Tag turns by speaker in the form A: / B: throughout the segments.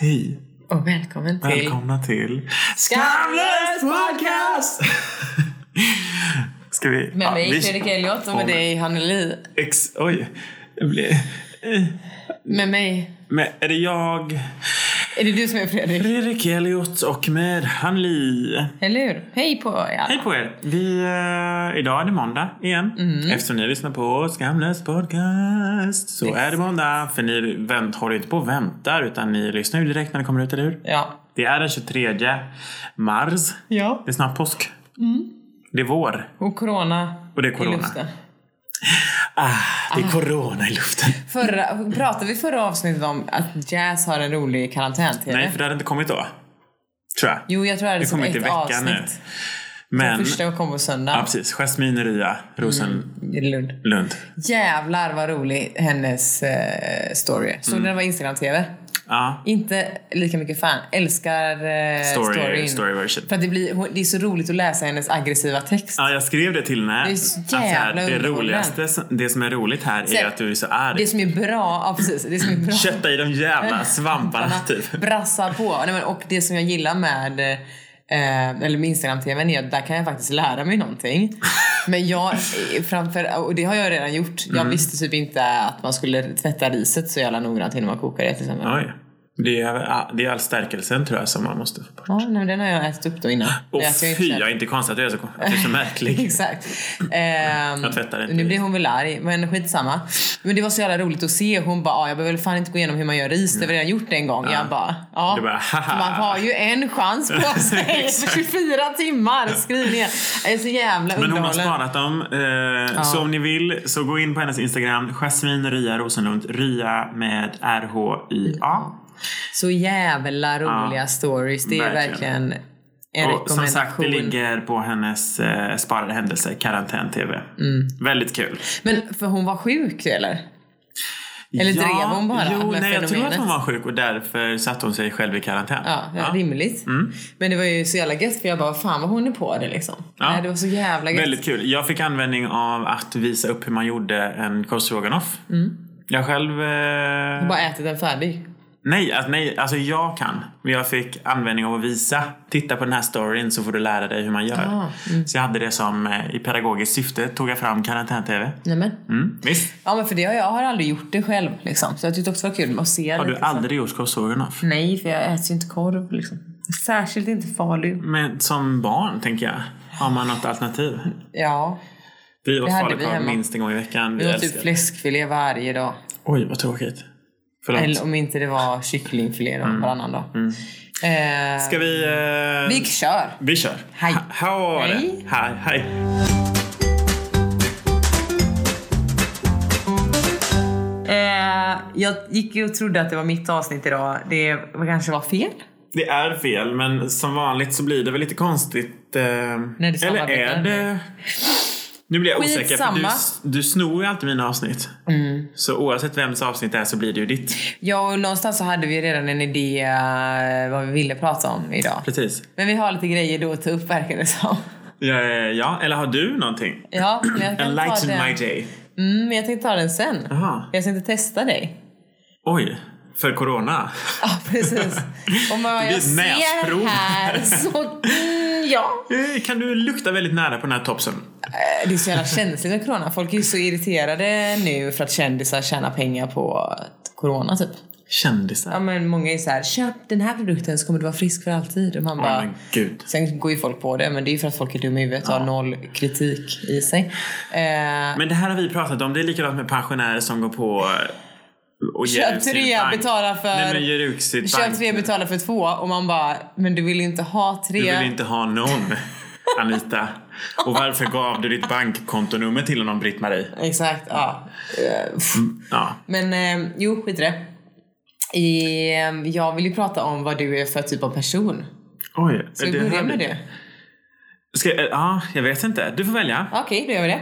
A: Hej!
B: Och välkommen till...
A: Välkomna till Skamlös podcast! Ska vi...
B: Med
A: ja,
B: mig
A: vi-
B: Fredrik Elliot och med dig Hanneli.
A: Ex, oj. Det blir- eh,
B: Med mig.
A: Men är det jag,
B: Är det du som är Fredrik?
A: Fredrik Elliot och med Hanli.
B: Eller hur? Hej på er.
A: Hej på er! Vi, eh, idag är det måndag igen.
B: Mm.
A: Eftersom ni lyssnar på Skamlös podcast så är det måndag. För ni vänt, håller inte på och väntar utan ni lyssnar ju direkt när det kommer ut, eller hur?
B: Ja.
A: Det är den 23 mars.
B: Ja.
A: Det är snart påsk.
B: Mm.
A: Det är vår.
B: Och corona
A: Och det är corona.
B: i luften.
A: Ah, det är corona i luften.
B: Förra, pratade vi förra avsnittet om att jazz har en rolig karantäntid?
A: Nej, för det hade inte kommit då. Tror jag.
B: Jo, jag tror det är
A: det
B: som
A: kommer
B: ett
A: inte i
B: avsnitt.
A: veckan nu.
B: Nu.
A: Men,
B: Första kom på
A: ja
B: söndag.
A: precis. Jasmine Ria Rosenlund.
B: i Lund. Jävlar vad rolig hennes eh, story är. Såg
A: Mm.
B: du den var Instagram-tv?
A: Ja.
B: Inte lika mycket fan. Älskar eh,
A: Story,
B: storyn.
A: story version.
B: För att det, blir, hon- det är så roligt att läsa hennes aggressiva text.
A: Ja, jag skrev det till henne.
B: Det är så
A: att så här,
B: jävla
A: det
B: underhållande.
A: roligaste, som- det som är roligt här är
B: Sen-
A: att du är så arg.
B: Det som är bra, ja precis. Det som är bra.
A: Kötta i de jävla svamparna typ.
B: Brassar på. Nej, men, och det som jag gillar med eh, eller med Instagram-tvn är att där kan jag faktiskt lära mig någonting. Men jag, eh, framför, och det har jag redan gjort. Jag
A: Mm.
B: visste typ inte att man skulle tvätta riset så jävla noggrant innan man kokar det till exempel. Ja.
A: Oj. Det är, ah, det är all stärkelsen tror jag som man måste få bort.
B: nej, men den har jag ätit upp då innan.
A: Åh
B: Det äter jag
A: fy,
B: inte.
A: jag är inte konstigt att du är så, att du är så märklig.
B: Exakt. Ehm,
A: Jag tvättar inte
B: nu
A: ris.
B: blir hon väl arg, men skitsamma. Men det var så jävla roligt att se. Hon bara, ah, jag behöver väl fan inte gå igenom hur man gör ris. Det har vi redan gjort en gång. Jag bara, ja.
A: Du bara, "Haha."
B: Man har ju en chans på sig för 24 timmar. Skriv ner. Jag är så jävla
A: Men hon har
B: underhållen.
A: sparat dem. Eh, Så om ni vill så gå in på hennes Instagram, Jasmine Ria Rosenlund. Ria med R-H-I-A.
B: Så jävla roliga stories. Det är
A: verkligen.
B: verkligen en rekommendation.
A: Och som sagt, det ligger på hennes eh, sparade händelser, karantän-tv.
B: Mm.
A: Väldigt kul.
B: Men för hon var sjuk eller? Eller
A: ja,
B: drev hon bara
A: Jo,
B: med
A: nej, jag tror att
B: fenomenet?
A: hon var sjuk och därför satte hon sig själv i karantän.
B: Ja, rimligt.
A: Mm.
B: Men det var ju så jävla gött för jag bara, fan vad hon är på det liksom.
A: Ja.
B: Nej, det var så jävla gött.
A: Väldigt kul. Jag fick användning av att visa upp hur man gjorde en korvstroganoff.
B: Mm.
A: Jag själv... Eh,
B: Bara ätit den färdig.
A: Nej, alltså, nej, alltså jag kan. Men jag fick användning av att visa. Titta på den här storyn så får du lära dig hur man gör.
B: Ah,
A: Så jag hade det som eh, i pedagogiskt syfte. Tog jag fram karantän-tv.
B: Nämen.
A: Mm, visst.
B: Ja men för det har jag, jag har aldrig gjort det själv liksom. Så jag tyckte också det var kul att se
A: Har
B: det.
A: du aldrig gjort korvstroganoff?
B: Nej för jag äter ju inte korv liksom. Särskilt inte Falu.
A: Men som barn tänker jag. Har man något alternativ?
B: Ja.
A: Vi åt
B: hade vi
A: falukorv
B: hemma.
A: minst en gång i veckan. Vi
B: Vi åt
A: älskar
B: typ
A: det.
B: fläskfilé varje dag.
A: Oj, vad tråkigt. Förlåt.
B: Eller om inte det var kycklingfilé då, varannan dag. Eh,
A: Ska vi... Eh...
B: vi kör!
A: Vi kör.
B: Hej.
A: Ha- Hallå där.
B: Hej.
A: Hej. Hej.
B: Eh, jag gick ju och trodde att det var mitt avsnitt idag. Det kanske var fel.
A: Det är fel, men som vanligt så blir det väl lite konstigt. Eh,
B: det
A: eller
B: samarbetar
A: är
B: nu.
A: det... Nu blir jag osäker, för du,
B: Skitsamma. Mm.
A: du snor ju alltid mina avsnitt. Så oavsett vems avsnitt det är så blir det ju ditt.
B: Ja, och någonstans så hade vi redan en idé eh, vad vi ville prata om idag.
A: Precis.
B: Men vi har lite grejer då att ta upp verkar det som.
A: Ja, ja, eller har du någonting?
B: Ja, men jag kan ta
A: Enlighten my
B: den.
A: day.
B: Mm, men jag tänkte ta den sen.
A: Jaha.
B: Jag tänkte testa dig.
A: Oj, för corona?
B: Ja, precis. Om man,
A: blir
B: jag
A: ett
B: ser
A: näsprov.
B: här så... Mm, ja.
A: Eh, Kan du lukta väldigt nära på den här topsen?
B: Eh, Det är så jävla känsligt med corona. Folk är ju så irriterade nu för att kändisar tjänar pengar på corona typ.
A: Kändisar.
B: Ja men många är så här, köp den här produkten så kommer du vara frisk för alltid. Och man
A: Åh,
B: bara...
A: men gud.
B: Sen går ju folk på det men det är ju för att folk är dumma i huvudet och har noll kritik i sig. Eh,
A: Men det här har vi pratat om. Det är likadant med pensionärer som går på eh, och ger
B: Köp
A: ut sin
B: tre,
A: bank.
B: betala för...
A: Nej men ger ut sitt
B: Köp
A: bank.
B: tre, betala för två och man bara, men du vill ju inte ha tre.
A: Du vill inte ha någon Anita. Och varför gav du ditt bankkontonummer till honom Britt-Marie?
B: Exakt, ja. Eh, pff.
A: Ja.
B: Men eh, jo, skit i det. I, eh, jag vill ju prata om vad du är för typ av person.
A: Oj.
B: Ska vi börja med det?
A: Ska, eh, ja, jag vet inte. Du får välja.
B: Okej, då gör vi det.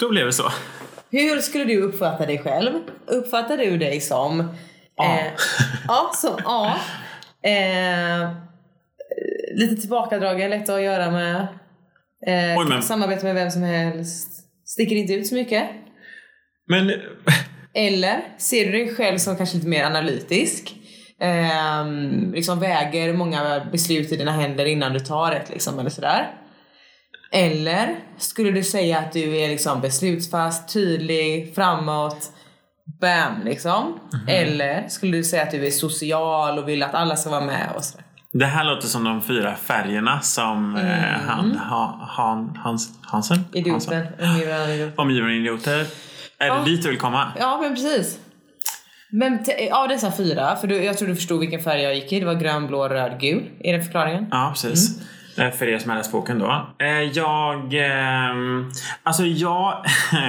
A: Då blev det så.
B: Hur skulle du uppfatta dig själv? Uppfattar du dig som...
A: A.
B: Eh, ja, som A. Eh, lite tillbakadragen, lätt att göra med. Eh,
A: Oj, men-
B: Samarbete med vem som helst. Sticker inte ut så mycket.
A: Men eh,
B: Eller ser du dig själv som kanske lite mer analytisk? ehm, liksom väger många beslut i dina händer innan du tar ett liksom eller sådär. Eller skulle du säga att du är liksom beslutsfast, tydlig, framåt, bam liksom. Eller skulle du säga att du är social och vill att alla ska vara med och sådär.
A: Det här låter som de fyra färgerna som eh, han, ha, han, Hans, Hansen? Hansson?
B: Mm. Idioten, omgivande idiot.
A: Omgivande idioter. Är det
B: Ja.
A: dit du vill komma?
B: Ja, men precis. Men te- av dessa fyra, för du, jag tror du förstod vilken färg jag gick i. Det var grön, blå, röd, gul. Är det förklaringen?
A: Ja, precis. Eh, För er som har läst boken då. Eh, Jag... ehm, Alltså jag...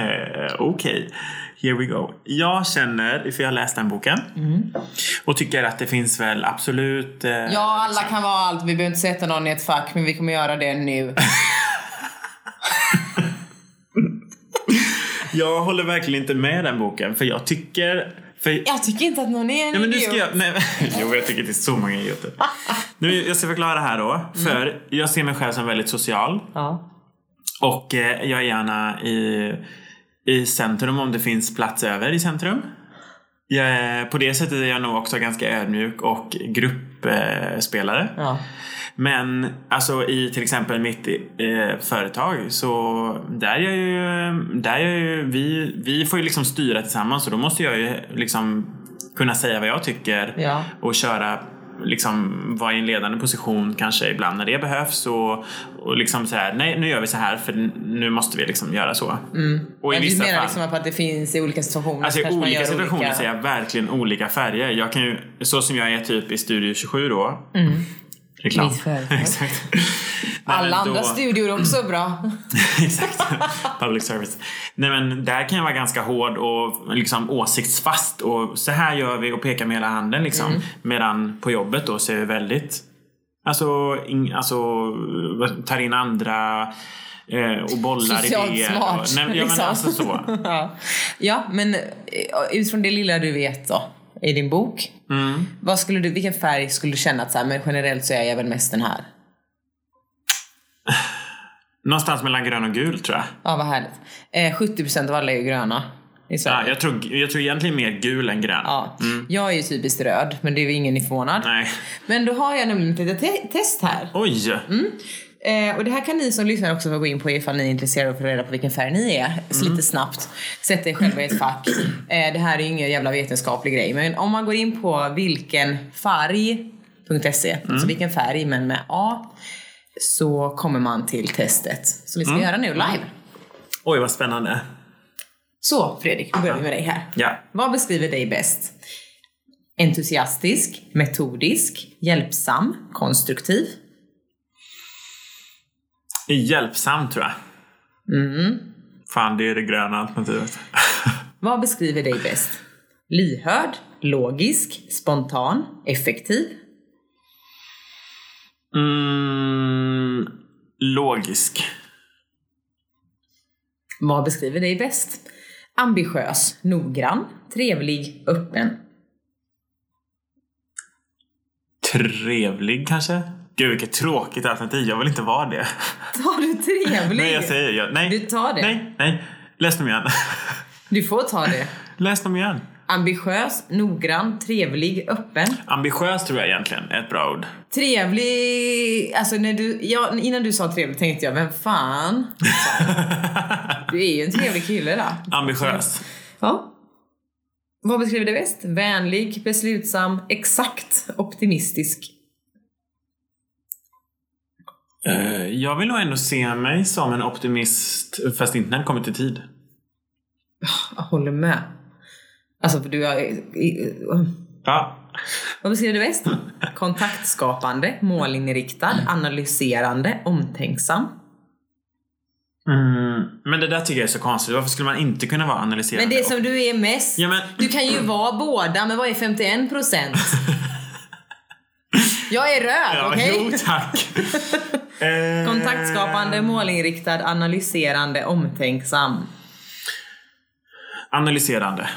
A: Okej. Here we go. Jag känner, för jag har läst den boken. Och tycker att det finns väl absolut... eh,
B: Mm. Ja, alla kan vara allt. Vi behöver inte sätta någon i ett fack, men vi kommer göra det nu.
A: Jag håller verkligen inte med den boken. För jag tycker... För
B: Jag tycker inte att någon är en
A: Nej, men nu
B: idiot.
A: ska jag, nej, men- jo, jag tycker det är så många idioter. Nu, jag ska förklara här då.
B: Mm.
A: För jag ser mig själv som väldigt social.
B: Ja.
A: Och eh, jag är gärna i, i centrum om det finns plats över i centrum. Jag, är- på det sättet är jag nog också ganska ödmjuk och gruppspelare. Eh, spelare.
B: Ja.
A: Men alltså i till exempel mitt eh, företag så där är jag ju, där är jag ju vi, vi får ju liksom styra tillsammans och då måste jag ju liksom kunna säga vad jag tycker
B: Ja.
A: och köra liksom vara i en ledande position kanske ibland när det behövs och, och liksom så här, nej nu gör vi så här för nu måste vi liksom göra så. Och i
B: Mm. Men du
A: vissa
B: menar
A: fall.
B: liksom att det finns i olika situationer
A: Alltså
B: så
A: i
B: kanske man
A: olika
B: gör
A: situationer ser jag verkligen olika färger. Jag kan ju, så som jag är typ i Studio 27 då.
B: Mm.
A: Reklam.
B: Mitt företag.
A: Exakt. Nej, men
B: Alla
A: då-
B: andra studior är också bra.
A: Exakt. Public service. Nej men där kan jag vara ganska hård och liksom åsiktsfast och så här gör vi och pekar med hela handen liksom.
B: Mm.
A: Medan på jobbet då så är jag väldigt Alltså, in, alltså vad- tar in andra eh, och bollar
B: Socialt
A: idéer.
B: smart,
A: och, nej, men- ja, men
B: liksom.
A: alltså så.
B: ja. ja, men eh, utifrån det lilla du vet då i din bok.
A: Mm.
B: Vad skulle du, vilken färg skulle du känna att så här, men generellt så är jag väl mest den här?
A: Någonstans mellan grön och gul tror jag.
B: Ja, vad härligt. Eh, 70% av alla är ju gröna i
A: Ja,
B: Sverige.
A: jag, tror, jag tror egentligen mer gul än grön.
B: Ja. Jag är ju typiskt röd, men det är ju ingen i förvånad.
A: Nej.
B: Men då har jag nämligen ett litet te- test här.
A: Oj!
B: Eh, och det här kan ni som lyssnar också få gå in på ifall ni är intresserade av att få reda på vilken färg ni är. Så lite snabbt. Sätt er själva i ett fack. Eh, det här är ju ingen jävla vetenskaplig grej. Men om man går in på vilkenfärg.se, alltså vilken färg men med A, så kommer man till testet som vi ska göra nu live.
A: Oj, vad spännande.
B: Så Fredrik, då börjar vi med dig här.
A: Ja.
B: Vad beskriver dig bäst? Entusiastisk, metodisk, hjälpsam, konstruktiv.
A: Hjälpsam tror jag.
B: Mm.
A: Fan, det är det gröna alternativet.
B: Vad beskriver dig bäst? Lyhörd, logisk, spontan, effektiv.
A: Mm, logisk.
B: Vad beskriver dig bäst? Ambitiös, noggrann, trevlig, öppen.
A: Trevlig kanske? Gud, vilket tråkigt alternativ. Jag vill inte vara det.
B: Tar du trevlig?
A: Nej, jag säger jag, nej.
B: Du tar det.
A: Nej, nej. Läs dem igen.
B: Du får ta det.
A: Läs dem igen.
B: Ambitiös, noggrann, trevlig, öppen.
A: Ambitiös tror jag egentligen är ett bra ord.
B: Trevlig... Alltså när du, ja, innan du sa trevlig tänkte jag, vem fan? Du är ju en trevlig kille då.
A: Ambitiös.
B: Ja. Vad beskriver det bäst? Vänlig, beslutsam, exakt, optimistisk. Mm.
A: Eh, Jag vill nog ändå se mig som en optimist, fast inte när det kommer till tid.
B: Jag håller med. Alltså för du har...
A: Ja.
B: Vad beskriver du bäst? Kontaktskapande, målinriktad, analyserande, omtänksam.
A: Mm, men det där tycker jag är så konstigt. Varför skulle man inte kunna vara analyserande?
B: Men det som du är mest.
A: Ja, men-
B: Du kan ju vara båda, men vad är 51 procent? Jag är röd,
A: Ja,
B: okej?
A: Jo, tack. Eh,
B: Kontaktskapande, målinriktad, analyserande, omtänksam.
A: Analyserande.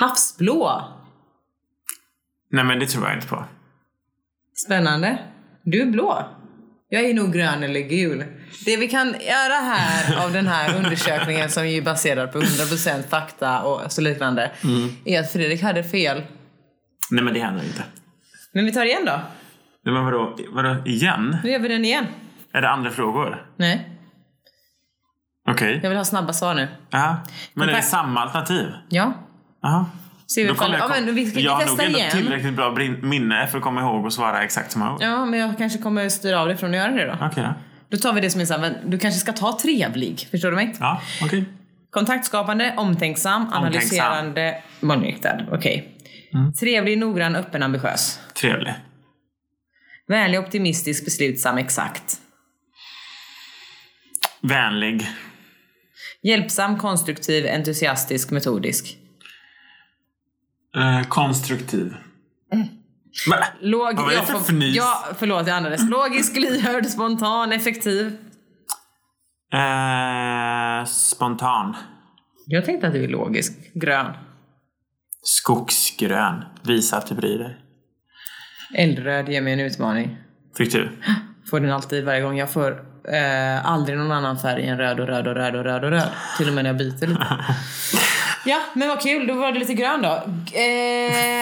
B: Havsblå.
A: Nej, men det tror jag inte på.
B: Spännande. Du är blå. Jag är nog grön eller gul. Det vi kan göra här av den här undersökningen som ju är baserad på 100% fakta och så liknande
A: Mm.
B: är att Fredrik hade fel.
A: Nej men det händer inte.
B: Men vi tar det igen då.
A: Nej, men vadå, vadå igen?
B: Nu gör vi den igen.
A: Är det andra frågor?
B: Nej,
A: Okej.
B: jag vill ha snabba svar nu.
A: Ja. Men är det
B: Kontakt-
A: samma alternativ?
B: Ja,
A: Jaha.
B: ser vi
A: Då
B: ifall...
A: kommer
B: Ja,
A: jag,
B: men vi, vi
A: jag
B: kan
A: har nog
B: testa
A: ändå
B: igen.
A: tillräckligt bra brin- minne för att komma ihåg och svara exakt som jag har.
B: Ja, men jag kanske kommer styra av dig från att göra det då.
A: Okej då.
B: Då tar vi det som är såhär, du kanske ska ta trevlig. Förstår du mig?
A: Ja, okej.
B: Kontaktskapande, omtänksam, Mm. analyserande, målinriktad. Okej. Trevlig, noggrann, öppen, ambitiös.
A: Trevlig.
B: Vänlig, optimistisk, beslutsam, exakt.
A: Vänlig.
B: Hjälpsam, konstruktiv, entusiastisk, metodisk.
A: Eh, konstruktiv.
B: Mm.
A: Men,
B: Låg,
A: Vad var det
B: ja,
A: för
B: för-
A: fnys?
B: Ja, förlåt jag andades. Logisk, lyhörd, spontan, effektiv.
A: eh, spontan.
B: Jag tänkte att du är logisk. Grön.
A: Skogsgrön. Visa att du bryr dig.
B: Eldröd, ge mig en utmaning.
A: Fick du?
B: Får den alltid varje gång. Jag får eh, aldrig någon annan färg än röd och röd och röd och röd och röd. Till och med när jag byter lite. Ja, men vad kul. Då var det lite grön då. Eh,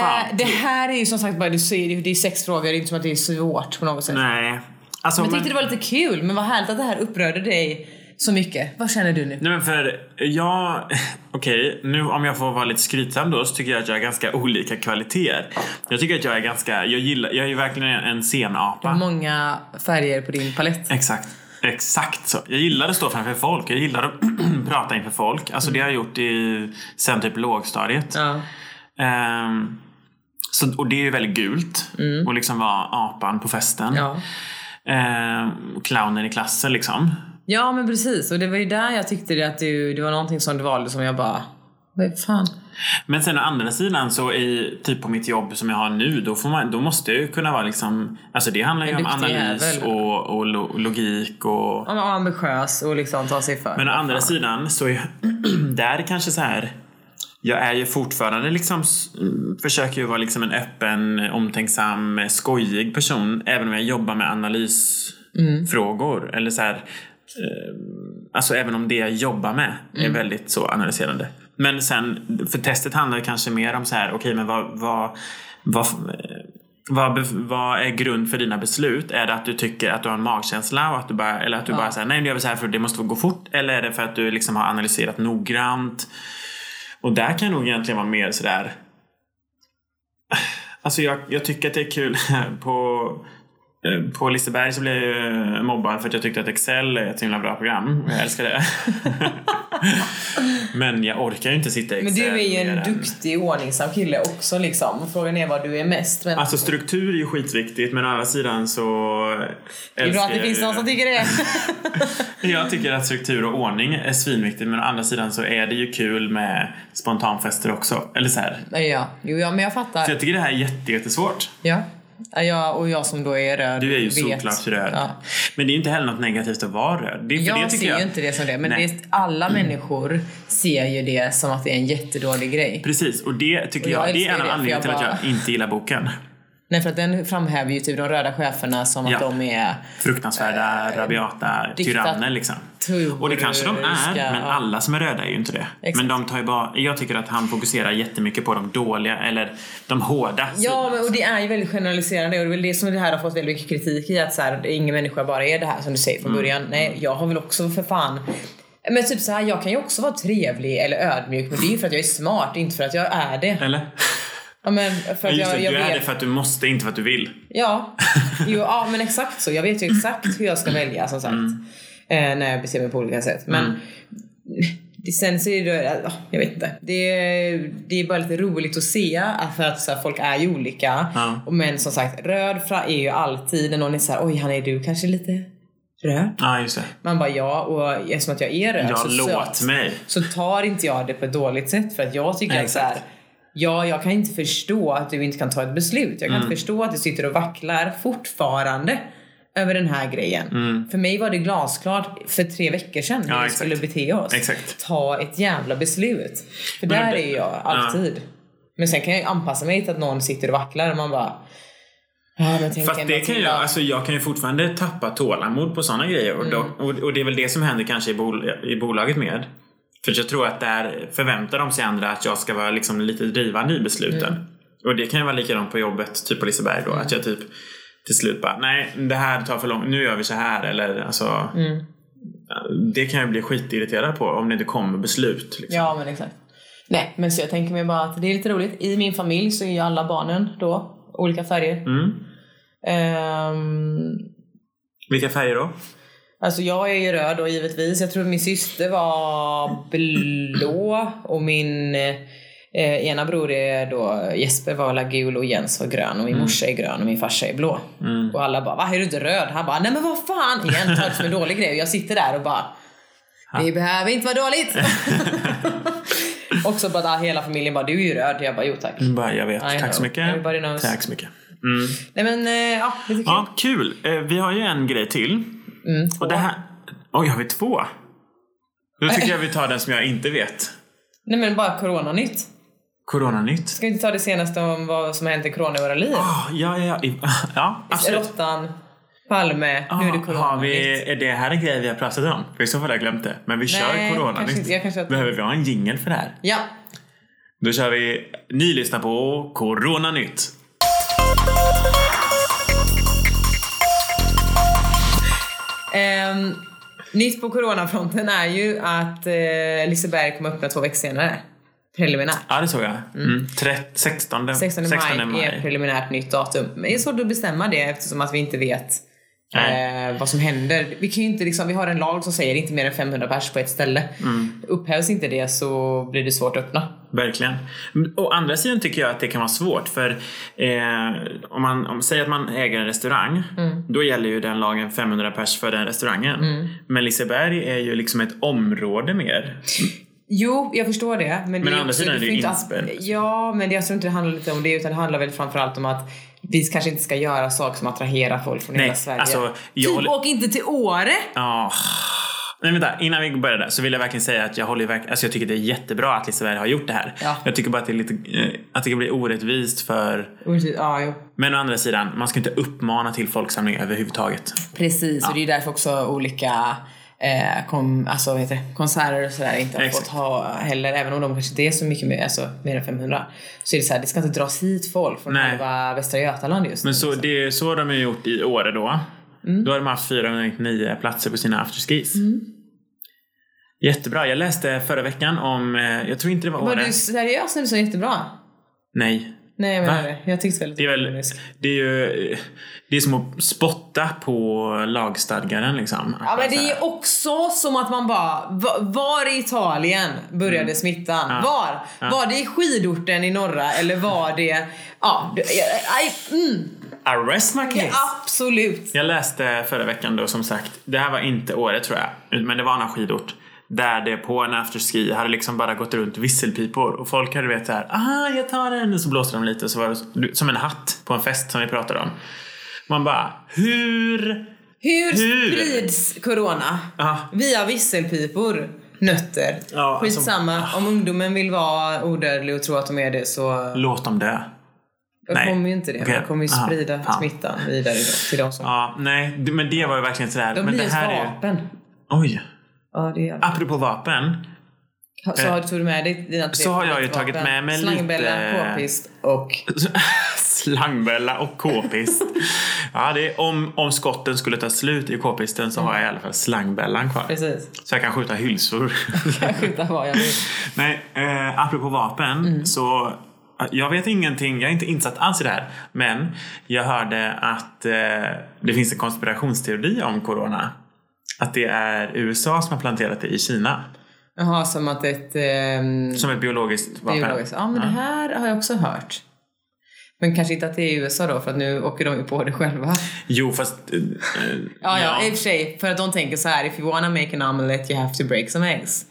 A: Fan.
B: det här är ju som sagt bara, du ser, det är sex frågor. Det är inte som att det är svårt på något sätt.
A: Nej. Alltså,
B: Men jag
A: men-
B: tyckte det var lite kul. Men vad härligt att det här upprörde dig så mycket. Vad känner du nu?
A: Nej men för jag, okej, nu om jag får vara lite skrytsam då så tycker jag att jag har ganska olika kvaliteter. Jag tycker att jag är ganska, jag gillar, jag är ju verkligen en
B: Du har
A: scenapa.
B: många färger på din palett.
A: Exakt. Exakt så. Jag gillar att stå framför folk, jag gillar att prata inför folk. Alltså det har jag gjort i, sen typ lågstadiet.
B: Ja.
A: Ehm, så, och det är ju väldigt gult. Och liksom vara apan på festen.
B: Mm. Ja.
A: Ehm, clownen i klassen liksom.
B: ja, men precis. Och det var ju där jag tyckte det att du, det var någonting som du valde som jag bara, vad fan.
A: Men sen å andra sidan så i typ på mitt jobb som jag har nu då, får man, då måste jag ju kunna vara liksom Alltså det handlar ju
B: En
A: om
B: duktig
A: analys
B: jävel.
A: och, och lo, logik och
B: Ja, men ambitiös och liksom ta sig för.
A: Men å andra sidan så är där kanske så här jag är ju fortfarande liksom, s- mm, försöker ju vara liksom en öppen, omtänksam, skojig person. Även om jag jobbar med analysfrågor. Eller så här, eh, alltså även om det jag jobbar med är väldigt så analyserande. Men sen, för testet handlar ju kanske mer om så här, okej men vad, vad, vad, vad, bef- vad är grund för dina beslut? Är det att du tycker att du har en magkänsla och att du bara, eller att du bara säger nej nu gör vi så här för det måste gå fort? Eller är det för att du liksom har analyserat noggrant? Och där kan jag nog egentligen vara mer sådär... Alltså jag, jag tycker att det är kul på, eh, på Liseberg så blev jag ju mobbad för att jag tyckte att Excel är ett så himla bra program. Jag älskar det. Men jag orkar ju inte sitta i
B: Men
A: Excel.
B: du är ju
A: mer
B: en
A: än-
B: duktig ordningsam kille också liksom. Och Frågan är vad du är mest. Men
A: Alltså struktur är ju skitviktigt men å andra sidan så...
B: det är bra att det finns någon som tycker det.
A: Jag tycker att struktur och ordning är svinviktigt men å andra sidan så är det ju kul med spontanfester också. Eller så här.
B: men ja, jo, ja, men jag
A: Så
B: fattar.
A: jag tycker det här är jätte, jättesvårt.
B: Ja. Ja, jag, och jag som då är röd
A: Du är ju
B: vet.
A: såklart röd.
B: Ja.
A: Men det är ju inte heller något negativt att vara röd. Det är för
B: Jag
A: det tycker
B: ser
A: jag.
B: ju inte det som det. Men
A: Nej. Mm.
B: visst, alla människor ser ju det som att det är en jättedålig grej.
A: Precis, och det tycker
B: Och jag
A: jag, det
B: älskar
A: är en av
B: det, för
A: anledningarna till
B: jag
A: att jag inte gillar boken.
B: Nej, för att den framhäver ju typ de röda cheferna som
A: Ja.
B: att de är...
A: Fruktansvärda, rabiata
B: Eh, diktat-
A: tyranner liksom. Och det kanske de är,
B: Turkiska,
A: men
B: ja.
A: alla som är röda är ju inte det.
B: Exakt.
A: Men de tar ju bara, jag tycker att han fokuserar jättemycket på de dåliga, eller de hårda
B: Ja,
A: sidorna.
B: men, och det är ju väldigt generaliserande och det är väl det som det här har fått väldigt mycket kritik i att så här, ingen människa bara är det här som du säger från
A: Mm.
B: början. Nej, jag har väl också för fan men typ så här, jag kan ju också vara trevlig eller ödmjuk men det är ju för att jag är smart, inte för att jag är det.
A: Eller?
B: Ja, men för att
A: Just
B: jag,
A: det,
B: jag
A: du är det
B: vet.
A: för att du måste, inte för att du vill.
B: Ja. Jo, ja, men exakt så. Jag vet ju exakt hur jag ska välja som sagt.
A: Mm.
B: Eh, när jag beter mig på olika sätt. Men det, sen så är det, ja, jag vet inte. Det, är- det är bara lite roligt att se att, för att så här, folk är ju olika.
A: Ja.
B: Och, men som sagt, röd fra är ju alltid när någon är så här, oj han är du kanske lite röd?
A: Ja, just det.
B: Man bara ja, och eftersom att jag är röd
A: Ja,
B: så,
A: låt
B: så,
A: mig.
B: så tar inte jag det på ett dåligt sätt för att jag tycker att så
A: Exakt.
B: här, ja, jag kan inte förstå att du inte kan ta ett beslut. Jag kan
A: Mm.
B: inte förstå att du sitter och vacklar fortfarande över den här grejen. För mig var det glasklart för tre veckor sedan hur
A: Mm. Ja,
B: vi
A: exakt.
B: skulle bete oss.
A: Exakt.
B: Ta ett jävla beslut. För
A: Men
B: där
A: det-
B: är jag alltid. Men sen kan jag ju anpassa mig till att någon sitter och vacklar och man bara Ja, men tänk
A: Fast
B: en
A: det
B: dag
A: kan
B: till
A: jag,
B: då.
A: alltså jag kan ju fortfarande tappa tålamod på sådana grejer. Och, då, och, och det är väl det som händer kanske i, bol, i bolaget med. För jag tror att där förväntar de sig andra att jag ska vara liksom lite drivande i besluten. Och det kan ju vara likadant på jobbet, typ på Liseberg då. Att jag typ till slut bara, nej det här tar för lång nu gör vi så här. Eller alltså,
B: Mm.
A: Det kan jag bli skitirriterad på om det inte kommer beslut. Liksom.
B: Ja, men exakt. Nej, men så jag tänker mig bara att det är lite roligt. I min familj så är ju alla barnen då olika färger.
A: Mm.
B: Ehm,
A: Vilka färger då?
B: alltså jag är ju röd då givetvis. Jag tror min syster var blå och min eh, ena bror är då Jesper var alla gul och Jens var grön och min morsa är grön och min farsa är blå. Och alla bara va, är du inte röd? Han bara nej men vad fan igen, ta det som en dålig grej. Och jag sitter där och bara det behöver inte vara dåligt. Också bara hela familjen bara du är ju röd. Jag bara jo tack.
A: Mm, Bara, jag vet.
B: I
A: Tack så
B: know.
A: mycket.
B: Everybody knows.
A: Tack så mycket. Mm.
B: Nej men eh, ja, det tycker
A: Ja, kul. Eh, Vi har ju en grej till.
B: Mm,
A: Och det här... Oj, har vi två? Nu tycker jag vi tar den som jag inte vet.
B: Nej men bara coronanytt.
A: Coronanytt.
B: Ska vi inte ta det senaste om vad som har hänt i corona i våra liv?
A: Ah, ja, ja, ja. i- Ja, absolut.
B: Råttan, Palme,
A: Alltså- Ah,
B: nu är det corona.
A: har vi, är det här en grej vi har pratat om? För i så fall har jag glömt det. Men vi kör
B: Nej, kanske
A: coronanytt.
B: inte. Jag kanske har-
A: Behöver vi ha en jingle för det här?
B: Ja,
A: Då kör vi. Ni lyssnar på Coronanytt.
B: ehm, nytt på coronafronten är ju att eh, Liseberg kommer öppna två veckor senare. Preliminärt.
A: Ja, det såg jag. Mm. Tre, 16,
B: 16 maj, är preliminärt nytt datum. Men det är svårt att bestämma det eftersom att vi inte vet
A: Nej.
B: eh, vad som händer. Vi, kan ju inte liksom, vi har en lag som säger inte mer än 500 pers på ett ställe.
A: Mm.
B: Upphävs inte det så blir det svårt att öppna.
A: Verkligen. Men Å andra sidan tycker jag att det kan vara svårt för eh, om man om, säger att man äger en restaurang då gäller ju den lagen 500 pers för den restaurangen. Men Liseberg är ju liksom ett område mer.
B: Jo, jag förstår det. Men, det ju
A: å andra
B: också-
A: sidan är det liksom.
B: får
A: ju
B: inte-
A: inspänt.
B: Ja, men jag tror inte det handlar lite om det utan det handlar väl framförallt om att vi kanske inte ska göra saker som attraherar folk från hela Sverige.
A: alltså, jag
B: typ
A: håller-
B: åk inte till Åre!
A: Ja. Nej vänta, innan vi börjar där så vill jag verkligen säga att jag håller verkligen, alltså jag tycker det är jättebra att Liseberg har gjort det här.
B: Ja.
A: Jag tycker bara att det är lite, eh, att det kan bli orättvist för,
B: Och typ- Ja, jo.
A: men å andra sidan, man ska inte uppmana till folksamling överhuvudtaget.
B: Precis, och det är ju därför också olika eh, kom, alltså, vad heter det, konserter och sådär inte har
A: Exakt.
B: fått ha heller. Även om de kanske inte är så mycket mer, alltså, mer än 500. Så är det så här, det ska inte dras hit folk från
A: Nej.
B: halva Västra Götaland just
A: Men
B: nu.
A: så, det är så de har gjort i Åre då.
B: Mm.
A: Då har de haft 499 platser på sina afterskis. Jättebra. Jag läste förra veckan om, eh, jag tror inte det var
B: Var
A: Åre.
B: du seriös när du sa jättebra?
A: Nej.
B: Nej, jag menar
A: Va?
B: det. Jag tyckte väldigt
A: Det är väl, det är ju, eh, det är som att spotta på lagstadgaren liksom.
B: Ja men det är också som att man bara, va- var i Italien började
A: Mm.
B: smittan? Var? Var det i skidorten i norra eller var det, ja, det- aj, mm,
A: Arrest my case.
B: absolut.
A: Jag läste förra veckan då som sagt, det här var inte Åre tror jag, men det var någon skidort. Där det på en afterski hade liksom bara gått runt visselpipor och folk hade vet såhär, ah jag tar den och så blåste de lite och så var det som en hatt på en fest som vi pratade om. Man bara, hur?
B: Hur,
A: Hur?
B: sprids corona?
A: Ja.
B: Via visselpipor, nötter.
A: Ja, alltså-
B: Skitsamma, om ungdomen vill vara odödlig och tro att de är det så
A: Låt dem dö. nej.
B: kommer ju inte det.
A: Okej.
B: Man kommer ju
A: Aha,
B: sprida
A: fan.
B: smittan vidare då, till de som...
A: Ja, nej, det- men det var ju verkligen sådär.
B: de
A: men
B: blir
A: det
B: ett
A: här är ju...
B: vapen.
A: Oj.
B: Ja, det är
A: Apropå vapen.
B: Så har du tagit med dig dina tre
A: Eh, så har jag ju
B: vapen.
A: tagit med mig
B: Slangbella,
A: lite-
B: k-pist och...
A: Slangbella och k-pist. ja, det är om, om skotten skulle ta slut i k-pisten så har jag i alla fall slangbällan kvar.
B: Precis.
A: Så jag kan skjuta hylsor.
B: Jag skjuter vad jag vill.
A: Nej, eh, apropå vapen
B: Mm.
A: så eh, jag vet ingenting, jag är inte insatt alls i det här. Men jag hörde att eh, det finns en konspirationsteori om corona. Att det är USA som har planterat det i Kina.
B: Jaha, som att ett... ehm,
A: Som ett biologiskt vapen.
B: biologiskt. Ja, men det här har jag också hört. Men kanske inte att det är i USA då, för att nu åker de ju på det själva.
A: Jo, fast... eh, eh,
B: Ja, ja, i och för sig. För att de tänker så här, if you wanna make an omelet you have to break some eggs.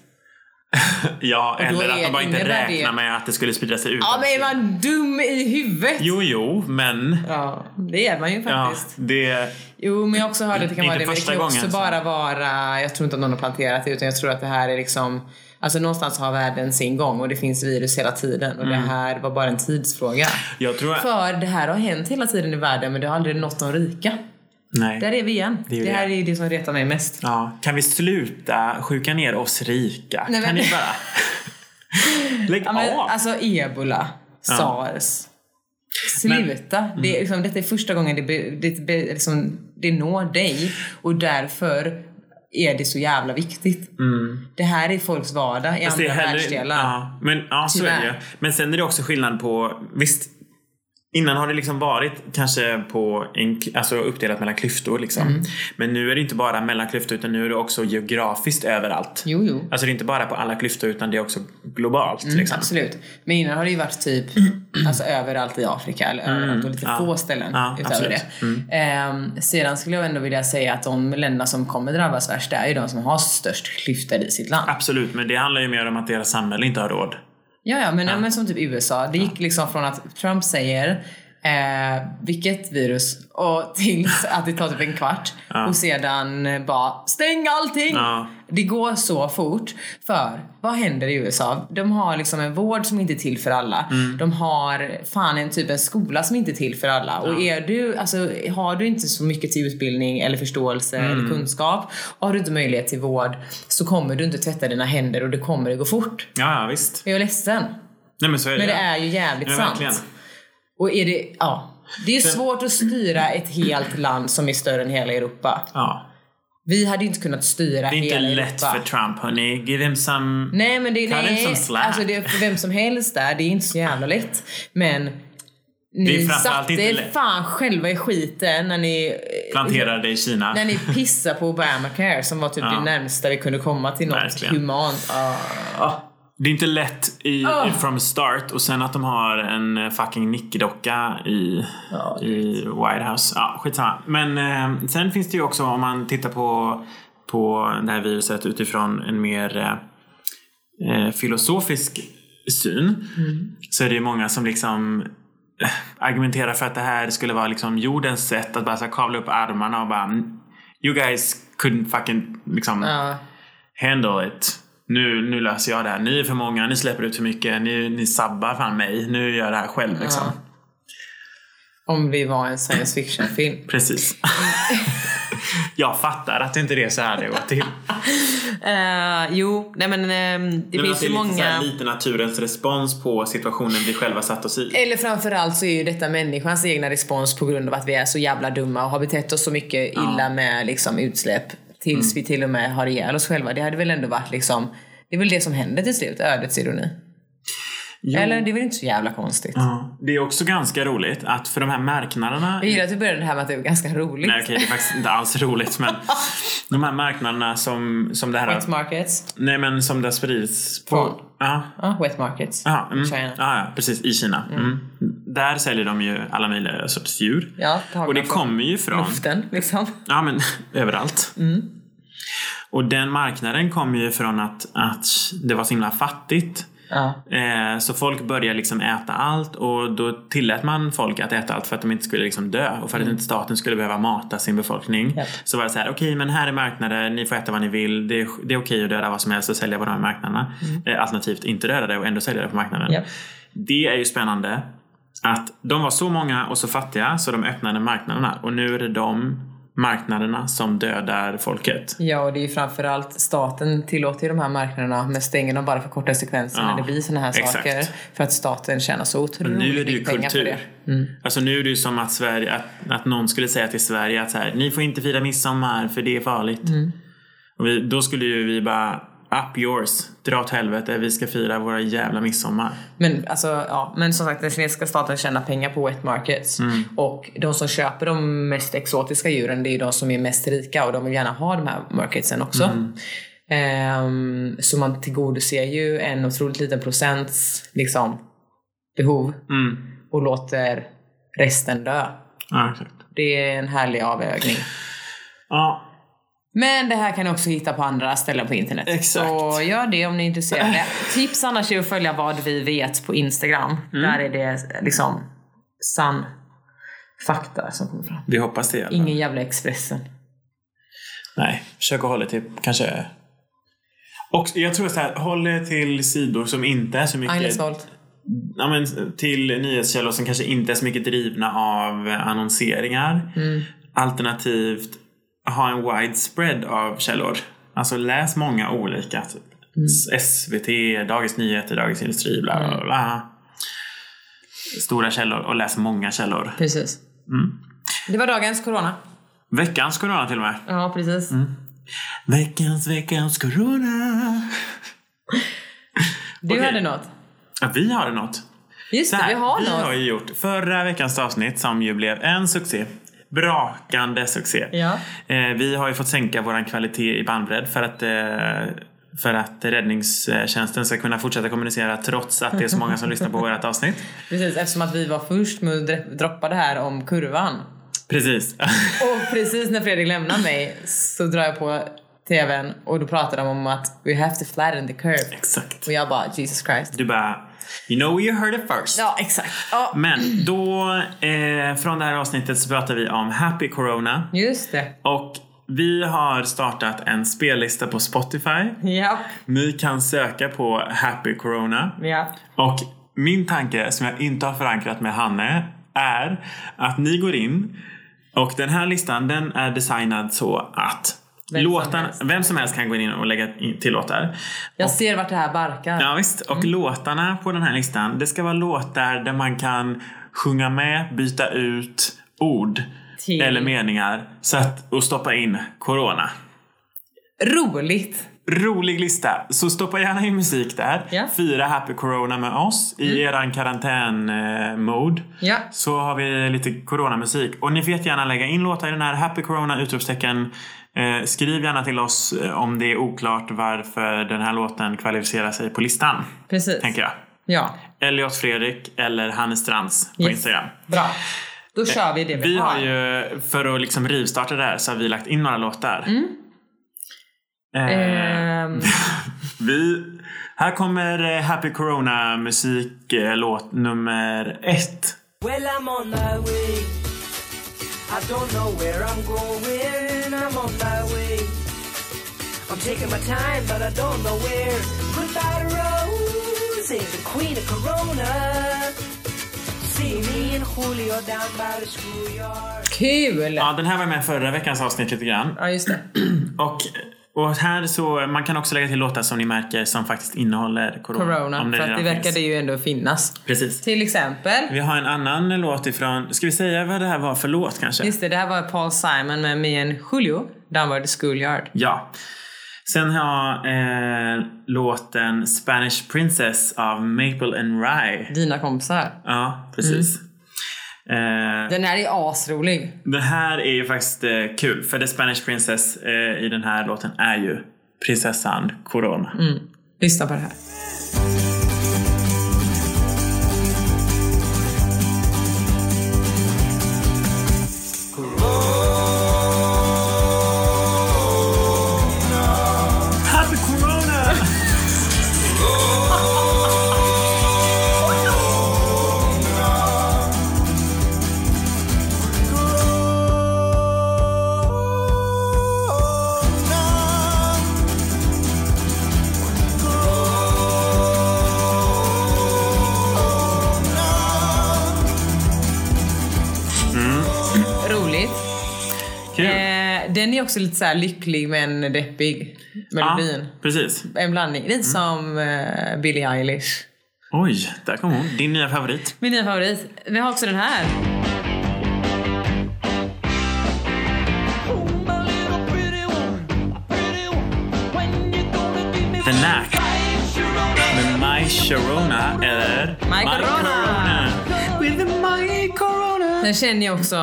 A: ja eller
B: är-
A: att de bara inte
B: innebär det-
A: räknar med att det skulle sprida sig ut.
B: Ja, men är man dum i huvudet?
A: Jo, jo, men...
B: Ja, det är man ju
A: Ja,
B: faktiskt.
A: det...
B: Jo, men jag har också hört att det kan
A: Inte
B: vara det. Men det
A: första
B: kan ju också
A: gången, så.
B: bara vara, jag tror inte att någon har planterat det, utan jag tror att det här är liksom Alltså någonstans har världen sin gång och det finns virus hela tiden och
A: Mm.
B: det här var bara en tidsfråga.
A: Jag tror...
B: För det här har hänt hela tiden i världen men det har aldrig nått de rika.
A: Nej.
B: Där är vi igen.
A: är
B: Det,
A: ju
B: här är ju det som retar mig mest.
A: Ja. Kan vi sluta sjuka ner oss rika?
B: Nej,
A: Kan
B: men-
A: ni bara... Lägg
B: Ja, men,
A: av!
B: alltså ebola, sars. Sluta! Det, är
A: Mm.
B: liksom, detta är första gången det, be, det, be, liksom, det når dig och därför är det så jävla viktigt. Det här är folks vardag i
A: Mm. Fast det är
B: andra
A: hellre-
B: världsdelar.
A: Ja, men, ja så är det ju.
B: Tyvärr.
A: Men sen är det också skillnad på, visst. Innan har det liksom varit kanske på en, kl- alltså uppdelat mellan klyftor liksom.
B: Mm.
A: Men nu är det inte bara mellan klyftor utan nu är det också geografiskt överallt.
B: Jo, jo.
A: Alltså det är inte bara på alla klyftor utan det är också globalt
B: Mm.
A: liksom.
B: Absolut. Men innan har det ju varit typ alltså, överallt i Afrika eller överallt och lite
A: Mm. Ja.
B: få ställen
A: Ja,
B: utöver
A: absolut. Mm.
B: det. Ehm, sedan skulle jag ändå vilja säga att de länderna som kommer drabbas värst det är ju de som har störst klyftor i sitt land.
A: Absolut, men det handlar ju mer om att deras samhälle inte har råd.
B: Ja, ja, men, men som typ USA. Det gick liksom från att Trump säger eh, vilket virus och tills att det tar typ en kvart och sedan eh, bara stäng allting.
A: Ja.
B: Det går så fort. För vad händer i USA? De har liksom en vård som inte är till för alla. De har fan en typ en skola som inte är till för alla. Och är du, alltså, har du inte så mycket till utbildning eller förståelse eller kunskap och har du inte möjlighet till vård så kommer du inte tvätta dina händer och det kommer det gå fort.
A: Ja, ja visst.
B: Jag är ledsen.
A: Nej men så är
B: Men
A: det
B: det är ju jävligt
A: Ja,
B: sant.
A: verkligen.
B: Och är det, ja. Det är ju svårt att styra ett helt land som är större än hela Europa.
A: Ja.
B: Vi hade ju inte kunnat styra
A: Det är inte
B: hela
A: lätt
B: Europa.
A: för Trump hörni. Give him some...
B: Nej men det,
A: Cut him
B: nej,
A: some slack.
B: alltså det är för vem som helst där, det är inte så jävla lätt. Men ni
A: framförallt
B: satte
A: inte
B: er
A: lätt.
B: fan själva i skiten när ni, eh,
A: Planterade i Kina.
B: när ni pissade på Obamacare som var typ det närmsta vi kunde komma till något
A: Verkligen.
B: humant. Ja.
A: Det är inte lätt i,
B: Ah.
A: i from start och sen att de har en eh, fucking Nicky-docka i,
B: Ja, det
A: i White House. Ja, skitsamma. Men eh, sen finns det ju också om man tittar på, på det här viruset utifrån en mer eh, eh, filosofisk syn
B: Mm.
A: så är det ju många som liksom eh, argumenterar för att det här skulle vara liksom jordens sätt att bara så här kavla upp armarna och bara "Mm, You guys couldn't fucking liksom
B: Ja.
A: handle it. Nu, nu löser jag det här. Ni är för många, ni släpper ut för mycket, ni, ni sabbar fan mig. Nu gör jag det här själv liksom.
B: Om vi var en science fiction film.
A: Precis. jag fattar att det inte är så här det går till.
B: Eh, jo, nej men ehm, det finns
A: Men att det är
B: ju
A: lite, så
B: många...
A: här, lite naturens respons på situationen vi själva satt oss i.
B: Eller framförallt så är ju detta människans egna respons på grund av att vi är så jävla dumma och har betett oss så mycket illa med liksom, utsläpp tills
A: Mm.
B: vi till och med har ihjäl oss själva. Det hade väl ändå varit liksom... Det är väl det som händer till slut, ödets ironi.
A: Jo.
B: Eller det är väl inte så jävla konstigt.
A: Ja. Det är också ganska roligt att för de här marknaderna
B: Jag gillar att du började det här med att det var ganska roligt.
A: Nej okej, det är faktiskt inte alls roligt men de här marknaderna som, som det här
B: Wet markets.
A: Nej men som det har spridits
B: Från?
A: på. Ja.
B: Ja, wet markets.
A: Aha, mm.
B: China.
A: Ja, ja, precis. I Kina. Mm. Där säljer de ju alla möjliga sorters djur.
B: Ja, det har
A: och det
B: man från
A: kommer ju från...
B: Luften, liksom.
A: Ja, men överallt.
B: Mm.
A: Och den marknaden kommer ju från att, att det var så himla fattigt.
B: Ja.
A: Eh, så folk började liksom äta allt och då tillät man folk att äta allt för att de inte skulle liksom dö och för att inte staten skulle behöva mata sin befolkning.
B: Japp.
A: Så var det så här, okej men här är marknaden, ni får äta vad ni vill, det är, det är okej att döda vad som helst och sälja på de här marknaderna. Eh, alternativt inte döda det och ändå sälja det på marknaden.
B: Japp.
A: Det är ju spännande att de var så många och så fattiga så de öppnade marknaderna och nu är det de marknaderna som dödar folket.
B: Ja, och det är ju framförallt staten tillåter ju de här marknaderna men stänger dem bara för korta sekvenser
A: Ja,
B: när det blir såna här
A: exakt.
B: saker. För att staten tjänar så otroligt
A: Nu är det ju
B: mycket pengar Mm. på
A: kultur. Alltså nu är det ju som att, Sverige, att, att någon skulle säga till Sverige att så här, ni får inte fira midsommar för det är farligt.
B: Mm.
A: Och vi, då skulle ju vi bara up yours, dra åt helvete, vi ska fira våra jävla midsommar.
B: Men, alltså, ja, men som sagt, den kinesiska staten tjänar pengar på wet markets.
A: Mm.
B: Och de som köper de mest exotiska djuren, det är ju de som är mest rika och de vill gärna ha de här marketsen också.
A: Mm.
B: Ehm, så man tillgodoser ju en otroligt liten procents liksom, behov
A: Mm.
B: och låter resten dö.
A: Ja, exakt.
B: Det är en härlig avvägning.
A: Ja,
B: Men det här kan ni också hitta på andra ställen på internet.
A: Exakt.
B: Så gör det om ni är intresserade. Tips annars är att följa vad vi vet på Instagram.
A: Mm.
B: Där är det liksom sann fakta som kommer fram.
A: vi hoppas det i alla fall.
B: Ingen jävla Expressen.
A: Nej, försök att hålla till kanske Och jag tror så här, håll er till sidor som inte är så mycket...
B: Agnes Wold.
A: Ja, men, till nyhetskällor som kanske inte är så mycket drivna av eh, annonseringar. Alternativt ha en widespread av källor. Alltså läs många olika. Typ. SVT, Dagens Nyheter, Dagens Industri, bla bla bla. Stora källor och läs många källor.
B: Precis.
A: Mm.
B: Det var dagens corona.
A: Veckans corona till och med.
B: Ja, precis.
A: Mm. Veckans, veckans corona.
B: Du
A: Okej.
B: hade något.
A: Ja, vi har något.
B: Just
A: Så
B: det,
A: här,
B: vi har
A: vi
B: något.
A: har ju gjort förra veckans avsnitt som ju blev en succé. Brakande succé.
B: Ja.
A: Eh, vi har ju fått sänka våran kvalitet i bandbredd för att eh, för att räddningstjänsten ska kunna fortsätta kommunicera trots att det är så många som lyssnar på vårt avsnitt.
B: Precis, eftersom att vi var först med att dre- droppa det här om kurvan.
A: Precis.
B: Och precis när Fredrik lämnar mig så drar jag på TVn och då pratar de om att we have to flatten the curve.
A: Exakt.
B: Och jag bara Jesus Christ.
A: Du bara, you know you heard it first.
B: Ja, exakt. Ja.
A: Men då, eh, från det här avsnittet så pratar vi om Happy Corona.
B: Just det.
A: Och vi har startat en spellista på Spotify.
B: Ja.
A: Ni kan söka på Happy Corona.
B: Ja.
A: Och min tanke som jag inte har förankrat med Hanne är att ni går in och den här listan den är designad så att
B: Vem
A: vem,
B: som
A: låtarna,
B: helst.
A: som, vem som helst kan gå in och lägga in till låtar.
B: Jag ser vart det här barkar.
A: Ja, visst.
B: Mm.
A: Och låtarna på den här listan det ska vara låtar där man kan sjunga med, byta ut ord
B: Till-
A: eller meningar så att, och stoppa in corona.
B: Roligt.
A: Rolig lista, så stoppa gärna in musik där.
B: Ja. Mm.
A: Fira happy corona med oss i eran karantän-mode.
B: Ja.
A: Så har vi lite coronamusik. Och ni får gärna lägga in låtar i den här happy corona utropstecken. Eh, skriv gärna till oss eh, om det är oklart varför den här låten kvalificerar sig på listan.
B: Precis.
A: Tänker jag.
B: Ja.
A: Elliot Fredrik eller Hannes Strands på
B: Yes.
A: Instagram.
B: Bra. Då kör vi det vi,
A: Eh, Vi har ju, eh, för att liksom rivstarta det här, så har vi lagt in några låtar.
B: Mm.
A: Eh,
B: Ehm,
A: Vi, här kommer eh, Happy Corona musik eh, låt nummer ett.
C: Well, I'm on my way. I don't know where I'm going. I'm on my way. I'm taking my time, but I don't know where. Goodbye to Rose, the queen of Corona. See me and Julio down by the schoolyard.
B: kul!
A: Ja, den här var med i förra veckans avsnitt lite grann.
B: Ja, just det.
A: Och, och här så, man kan också lägga till låtar som ni märker som faktiskt innehåller corona.
B: Corona.
A: om
B: För att det
A: redan
B: verkade
A: finns.
B: ju ändå finnas.
A: Precis.
B: Till exempel.
A: Vi har en annan låt ifrån, ska vi säga vad det här var för låt kanske?
B: Just det, det här var Paul Simon med Me and Julio. Downward Schoolyard.
A: Ja. Sen har jag eh, låten Spanish Princess av Maple and Rye.
B: Dina kompisar.
A: Ja, precis. Eh,
B: Den här är asrolig.
A: Det här är ju faktiskt eh, kul för The Spanish Princess eh, i den här låten är ju prinsessan Corona.
B: Mm. Lyssna på det här.
A: Happy Corona!
B: Roligt.
A: Kul!
B: Eh, den är också lite så här lycklig men deppig. Melodin.
A: precis.
B: En blandning. Lite som eh, Billie Eilish.
A: Oj, där kom hon. Din nya favorit.
B: Min nya favorit. Vi har också den här.
A: The Knack. Med My Sharona eller
B: My Corona.
A: With the My Corona.
B: Sen känner jag också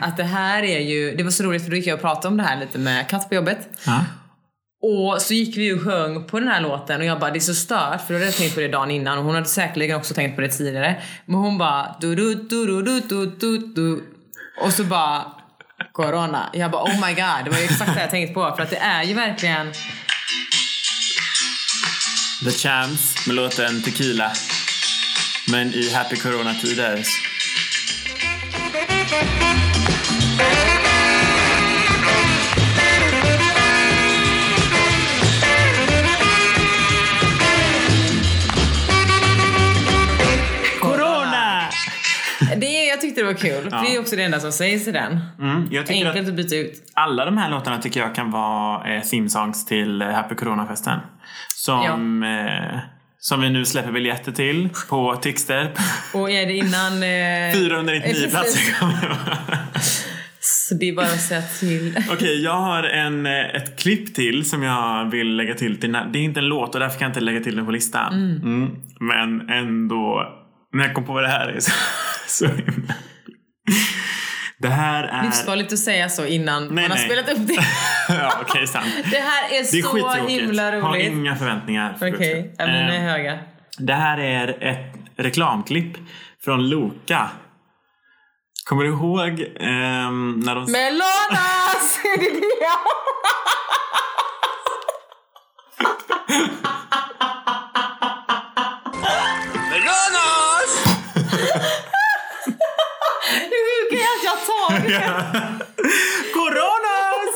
B: att det här är ju... Det var så roligt för då gick jag och pratade om det här lite med katt på jobbet.
A: Ja.
B: Och så gick vi och sjöng på den här låten och jag bara det är så stört för då hade jag tänkt på det dagen innan och hon hade säkerligen också tänkt på det tidigare. Men hon bara du du du du du du du du och så bara Corona. Jag bara oh my god, det var ju exakt det jag tänkt på för att det är ju verkligen
A: The Champs med låten Tequila. Men i Happy Corona-tider.
B: Det, jag tyckte det var kul.
A: Ja.
B: Det är också det enda som sägs i den.
A: Mm, jag tycker att
B: Enkelt att byta ut.
A: alla de här låtarna tycker jag kan vara eh, theme songs till eh, Happy Corona-festen. Som, eh, som vi nu släpper biljetter till på Tixter.
B: Och är det innan... Eh,
A: 499
B: precis.
A: platser kommer det vara.
B: Så det är bara att säga till.
A: Okej, jag har en, eh, ett klipp till som jag vill lägga till. till den- det är inte en låt och därför kan jag inte lägga till den på listan. Mm. Men ändå, när jag kom på vad det här är så... så himla- det här är...
B: Livsfarligt att säga så innan man har
A: nej.
B: spelat upp det.
A: ja, okej, sant.
B: Det här är,
A: Det är
B: så
A: skittråkigt.
B: himla
A: Har
B: roligt.
A: inga förväntningar.
B: Okej, ja,
A: Eh,
B: mina är höga.
A: det här är ett reklamklipp från Loka. Kommer du ihåg ehm, när de...
B: Melonas! Är det det?
D: Melonas!
B: Det sjuka är att jag tar det.
A: Coronas!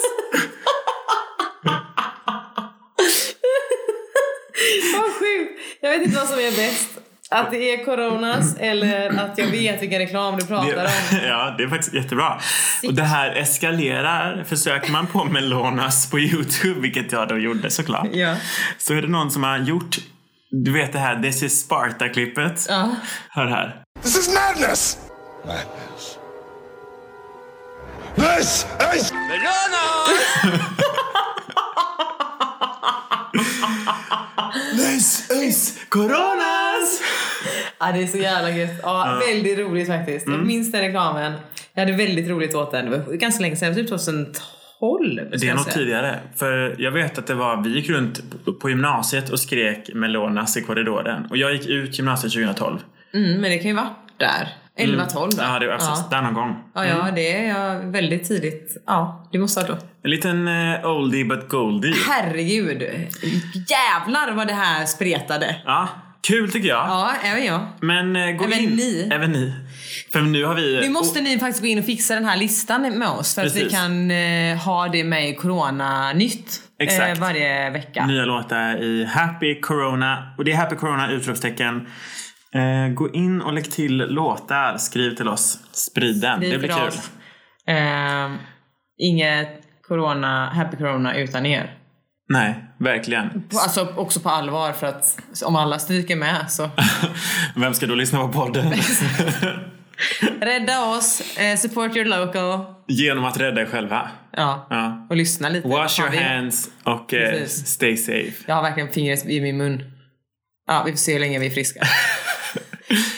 B: Vad sjukt. Jag vet inte vad som är bäst. Att det är coronas eller att jag vet vilken reklam du pratar om.
A: Det- Ja, det är faktiskt jättebra. Och det här eskalerar. Försöker man på Melonas på Youtube, vilket jag då gjorde såklart.
B: Ja.
A: Så är det någon som har gjort, du vet det här This is Sparta-klippet.
B: Ja.
A: Hör här.
D: This is madness!
E: Madness. This is
D: Melonas!
A: This is Coronas!
B: ja, det är så jävla gött. Ja, Väldigt roligt faktiskt.
A: Mm.
B: Jag minns den reklamen. Jag hade väldigt roligt åt den. Det var ganska länge sedan, typ 2012.
A: Det är nog tidigare. För jag vet att det var, vi gick runt på gymnasiet och skrek Melonas i korridoren. Och jag gick ut gymnasiet 2012.
B: Mm, men det kan ju vara där. 11-12 va?
A: Mm. Ja, det var alltså Mm. där någon gång.
B: Ja, ja, det är jag väldigt tidigt. Ja, det måste ha varit då.
A: En liten eh, oldie but goldie.
B: Herregud. Jävlar vad det här spretade.
A: Ja, kul tycker jag.
B: Ja, även jag.
A: Men eh, gå
B: Även
A: in.
B: ni.
A: Även ni. För nu har vi... eh,
B: Nu måste ni faktiskt gå in och fixa den här listan med oss för att vi
A: Precis.
B: kan eh, ha det med i Corona-nytt eh,
A: Exakt.
B: varje vecka.
A: och, nya låtar i Happy Corona. Och det är Happy Corona utropstecken. Eh, gå in och lägg till låtar. Skriv till oss. Sprid den.
B: Vi
A: det blir
B: drar
A: kul.
B: oss. Ehm, inget corona, happy corona utan er.
A: Nej, verkligen.
B: På- Alltså också på allvar för att om alla stryker med så
A: Vem ska då lyssna på podden?
B: rädda oss, eh, support your local
A: Genom att rädda er själva.
B: ja.
A: Ja.
B: och lyssna lite.
A: Wash
B: Fan,
A: your
B: vi-
A: hands och eh,
B: Precis.
A: stay safe.
B: Jag har verkligen fingret i min mun. Ja, vi får se hur länge vi är friska.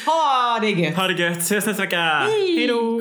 B: ha det är gött!
A: Ha det gött. Ses nästa vecka.
B: Hej då!